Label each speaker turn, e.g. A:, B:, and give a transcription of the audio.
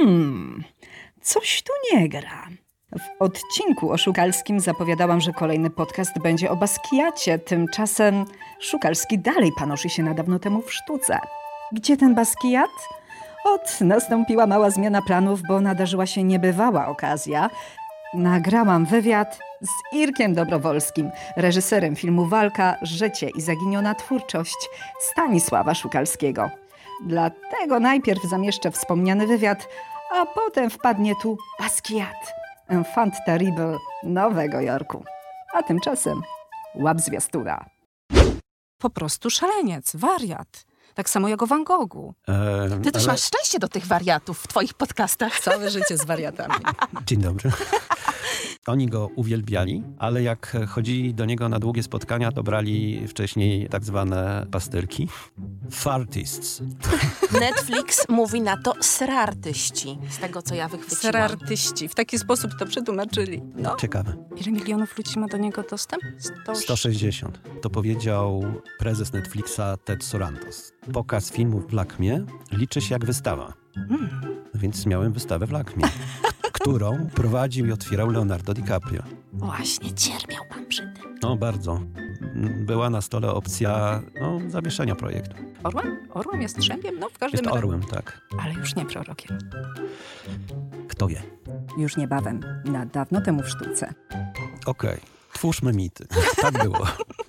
A: Hmm, coś tu nie gra. W odcinku o Szukalskim zapowiadałam, że kolejny podcast będzie o Baskiacie. Tymczasem Szukalski dalej panoszy się na dawno temu w sztuce. Gdzie ten Baskiat? Ot, nastąpiła mała zmiana planów, bo nadarzyła się niebywała okazja. Nagrałam wywiad z Irkiem Dobrowolskim, reżyserem filmu Walka, Życie i zaginiona twórczość Stanisława Szukalskiego. Dlatego najpierw zamieszczę wspomniany wywiad, a potem wpadnie tu Basquiat, enfant terrible Nowego Jorku. A tymczasem łap zwiastuna.
B: Po prostu szaleniec, wariat. Tak samo jak o Van Goghu.
C: E,
D: Ty też
C: ale-
D: masz szczęście do tych wariatów w twoich podcastach.
A: Całe życie z wariatami.
C: Dzień dobry. Oni go uwielbiali, ale jak chodzili do niego na długie spotkania, to brali wcześniej tak zwane pastylki. Fartists.
D: Netflix mówi na to serartyści, z tego co ja wychwyciłam.
B: Serartyści. W taki sposób to przetłumaczyli. No.
C: Ciekawe.
B: Ile milionów ludzi ma do niego dostęp? 100...
C: 160. To powiedział prezes Netflixa Ted Sorantos. Pokaz filmów w Lakmie liczy się jak wystawa.
B: Hmm.
C: Więc miałem wystawę w Lakmie, którą prowadził i otwierał Leonardo DiCaprio.
D: Właśnie cierpiał pan przy tym.
C: No bardzo. Była na stole opcja no, zawieszenia projektu.
B: Orłem? Orłem jest strzępiem? No w każdym
C: Jest orłem, tak.
B: Ale już nie prorokiem.
C: Kto wie?
A: Już niebawem, na dawno temu w sztuce.
C: Okej, twórzmy mity. Tak było.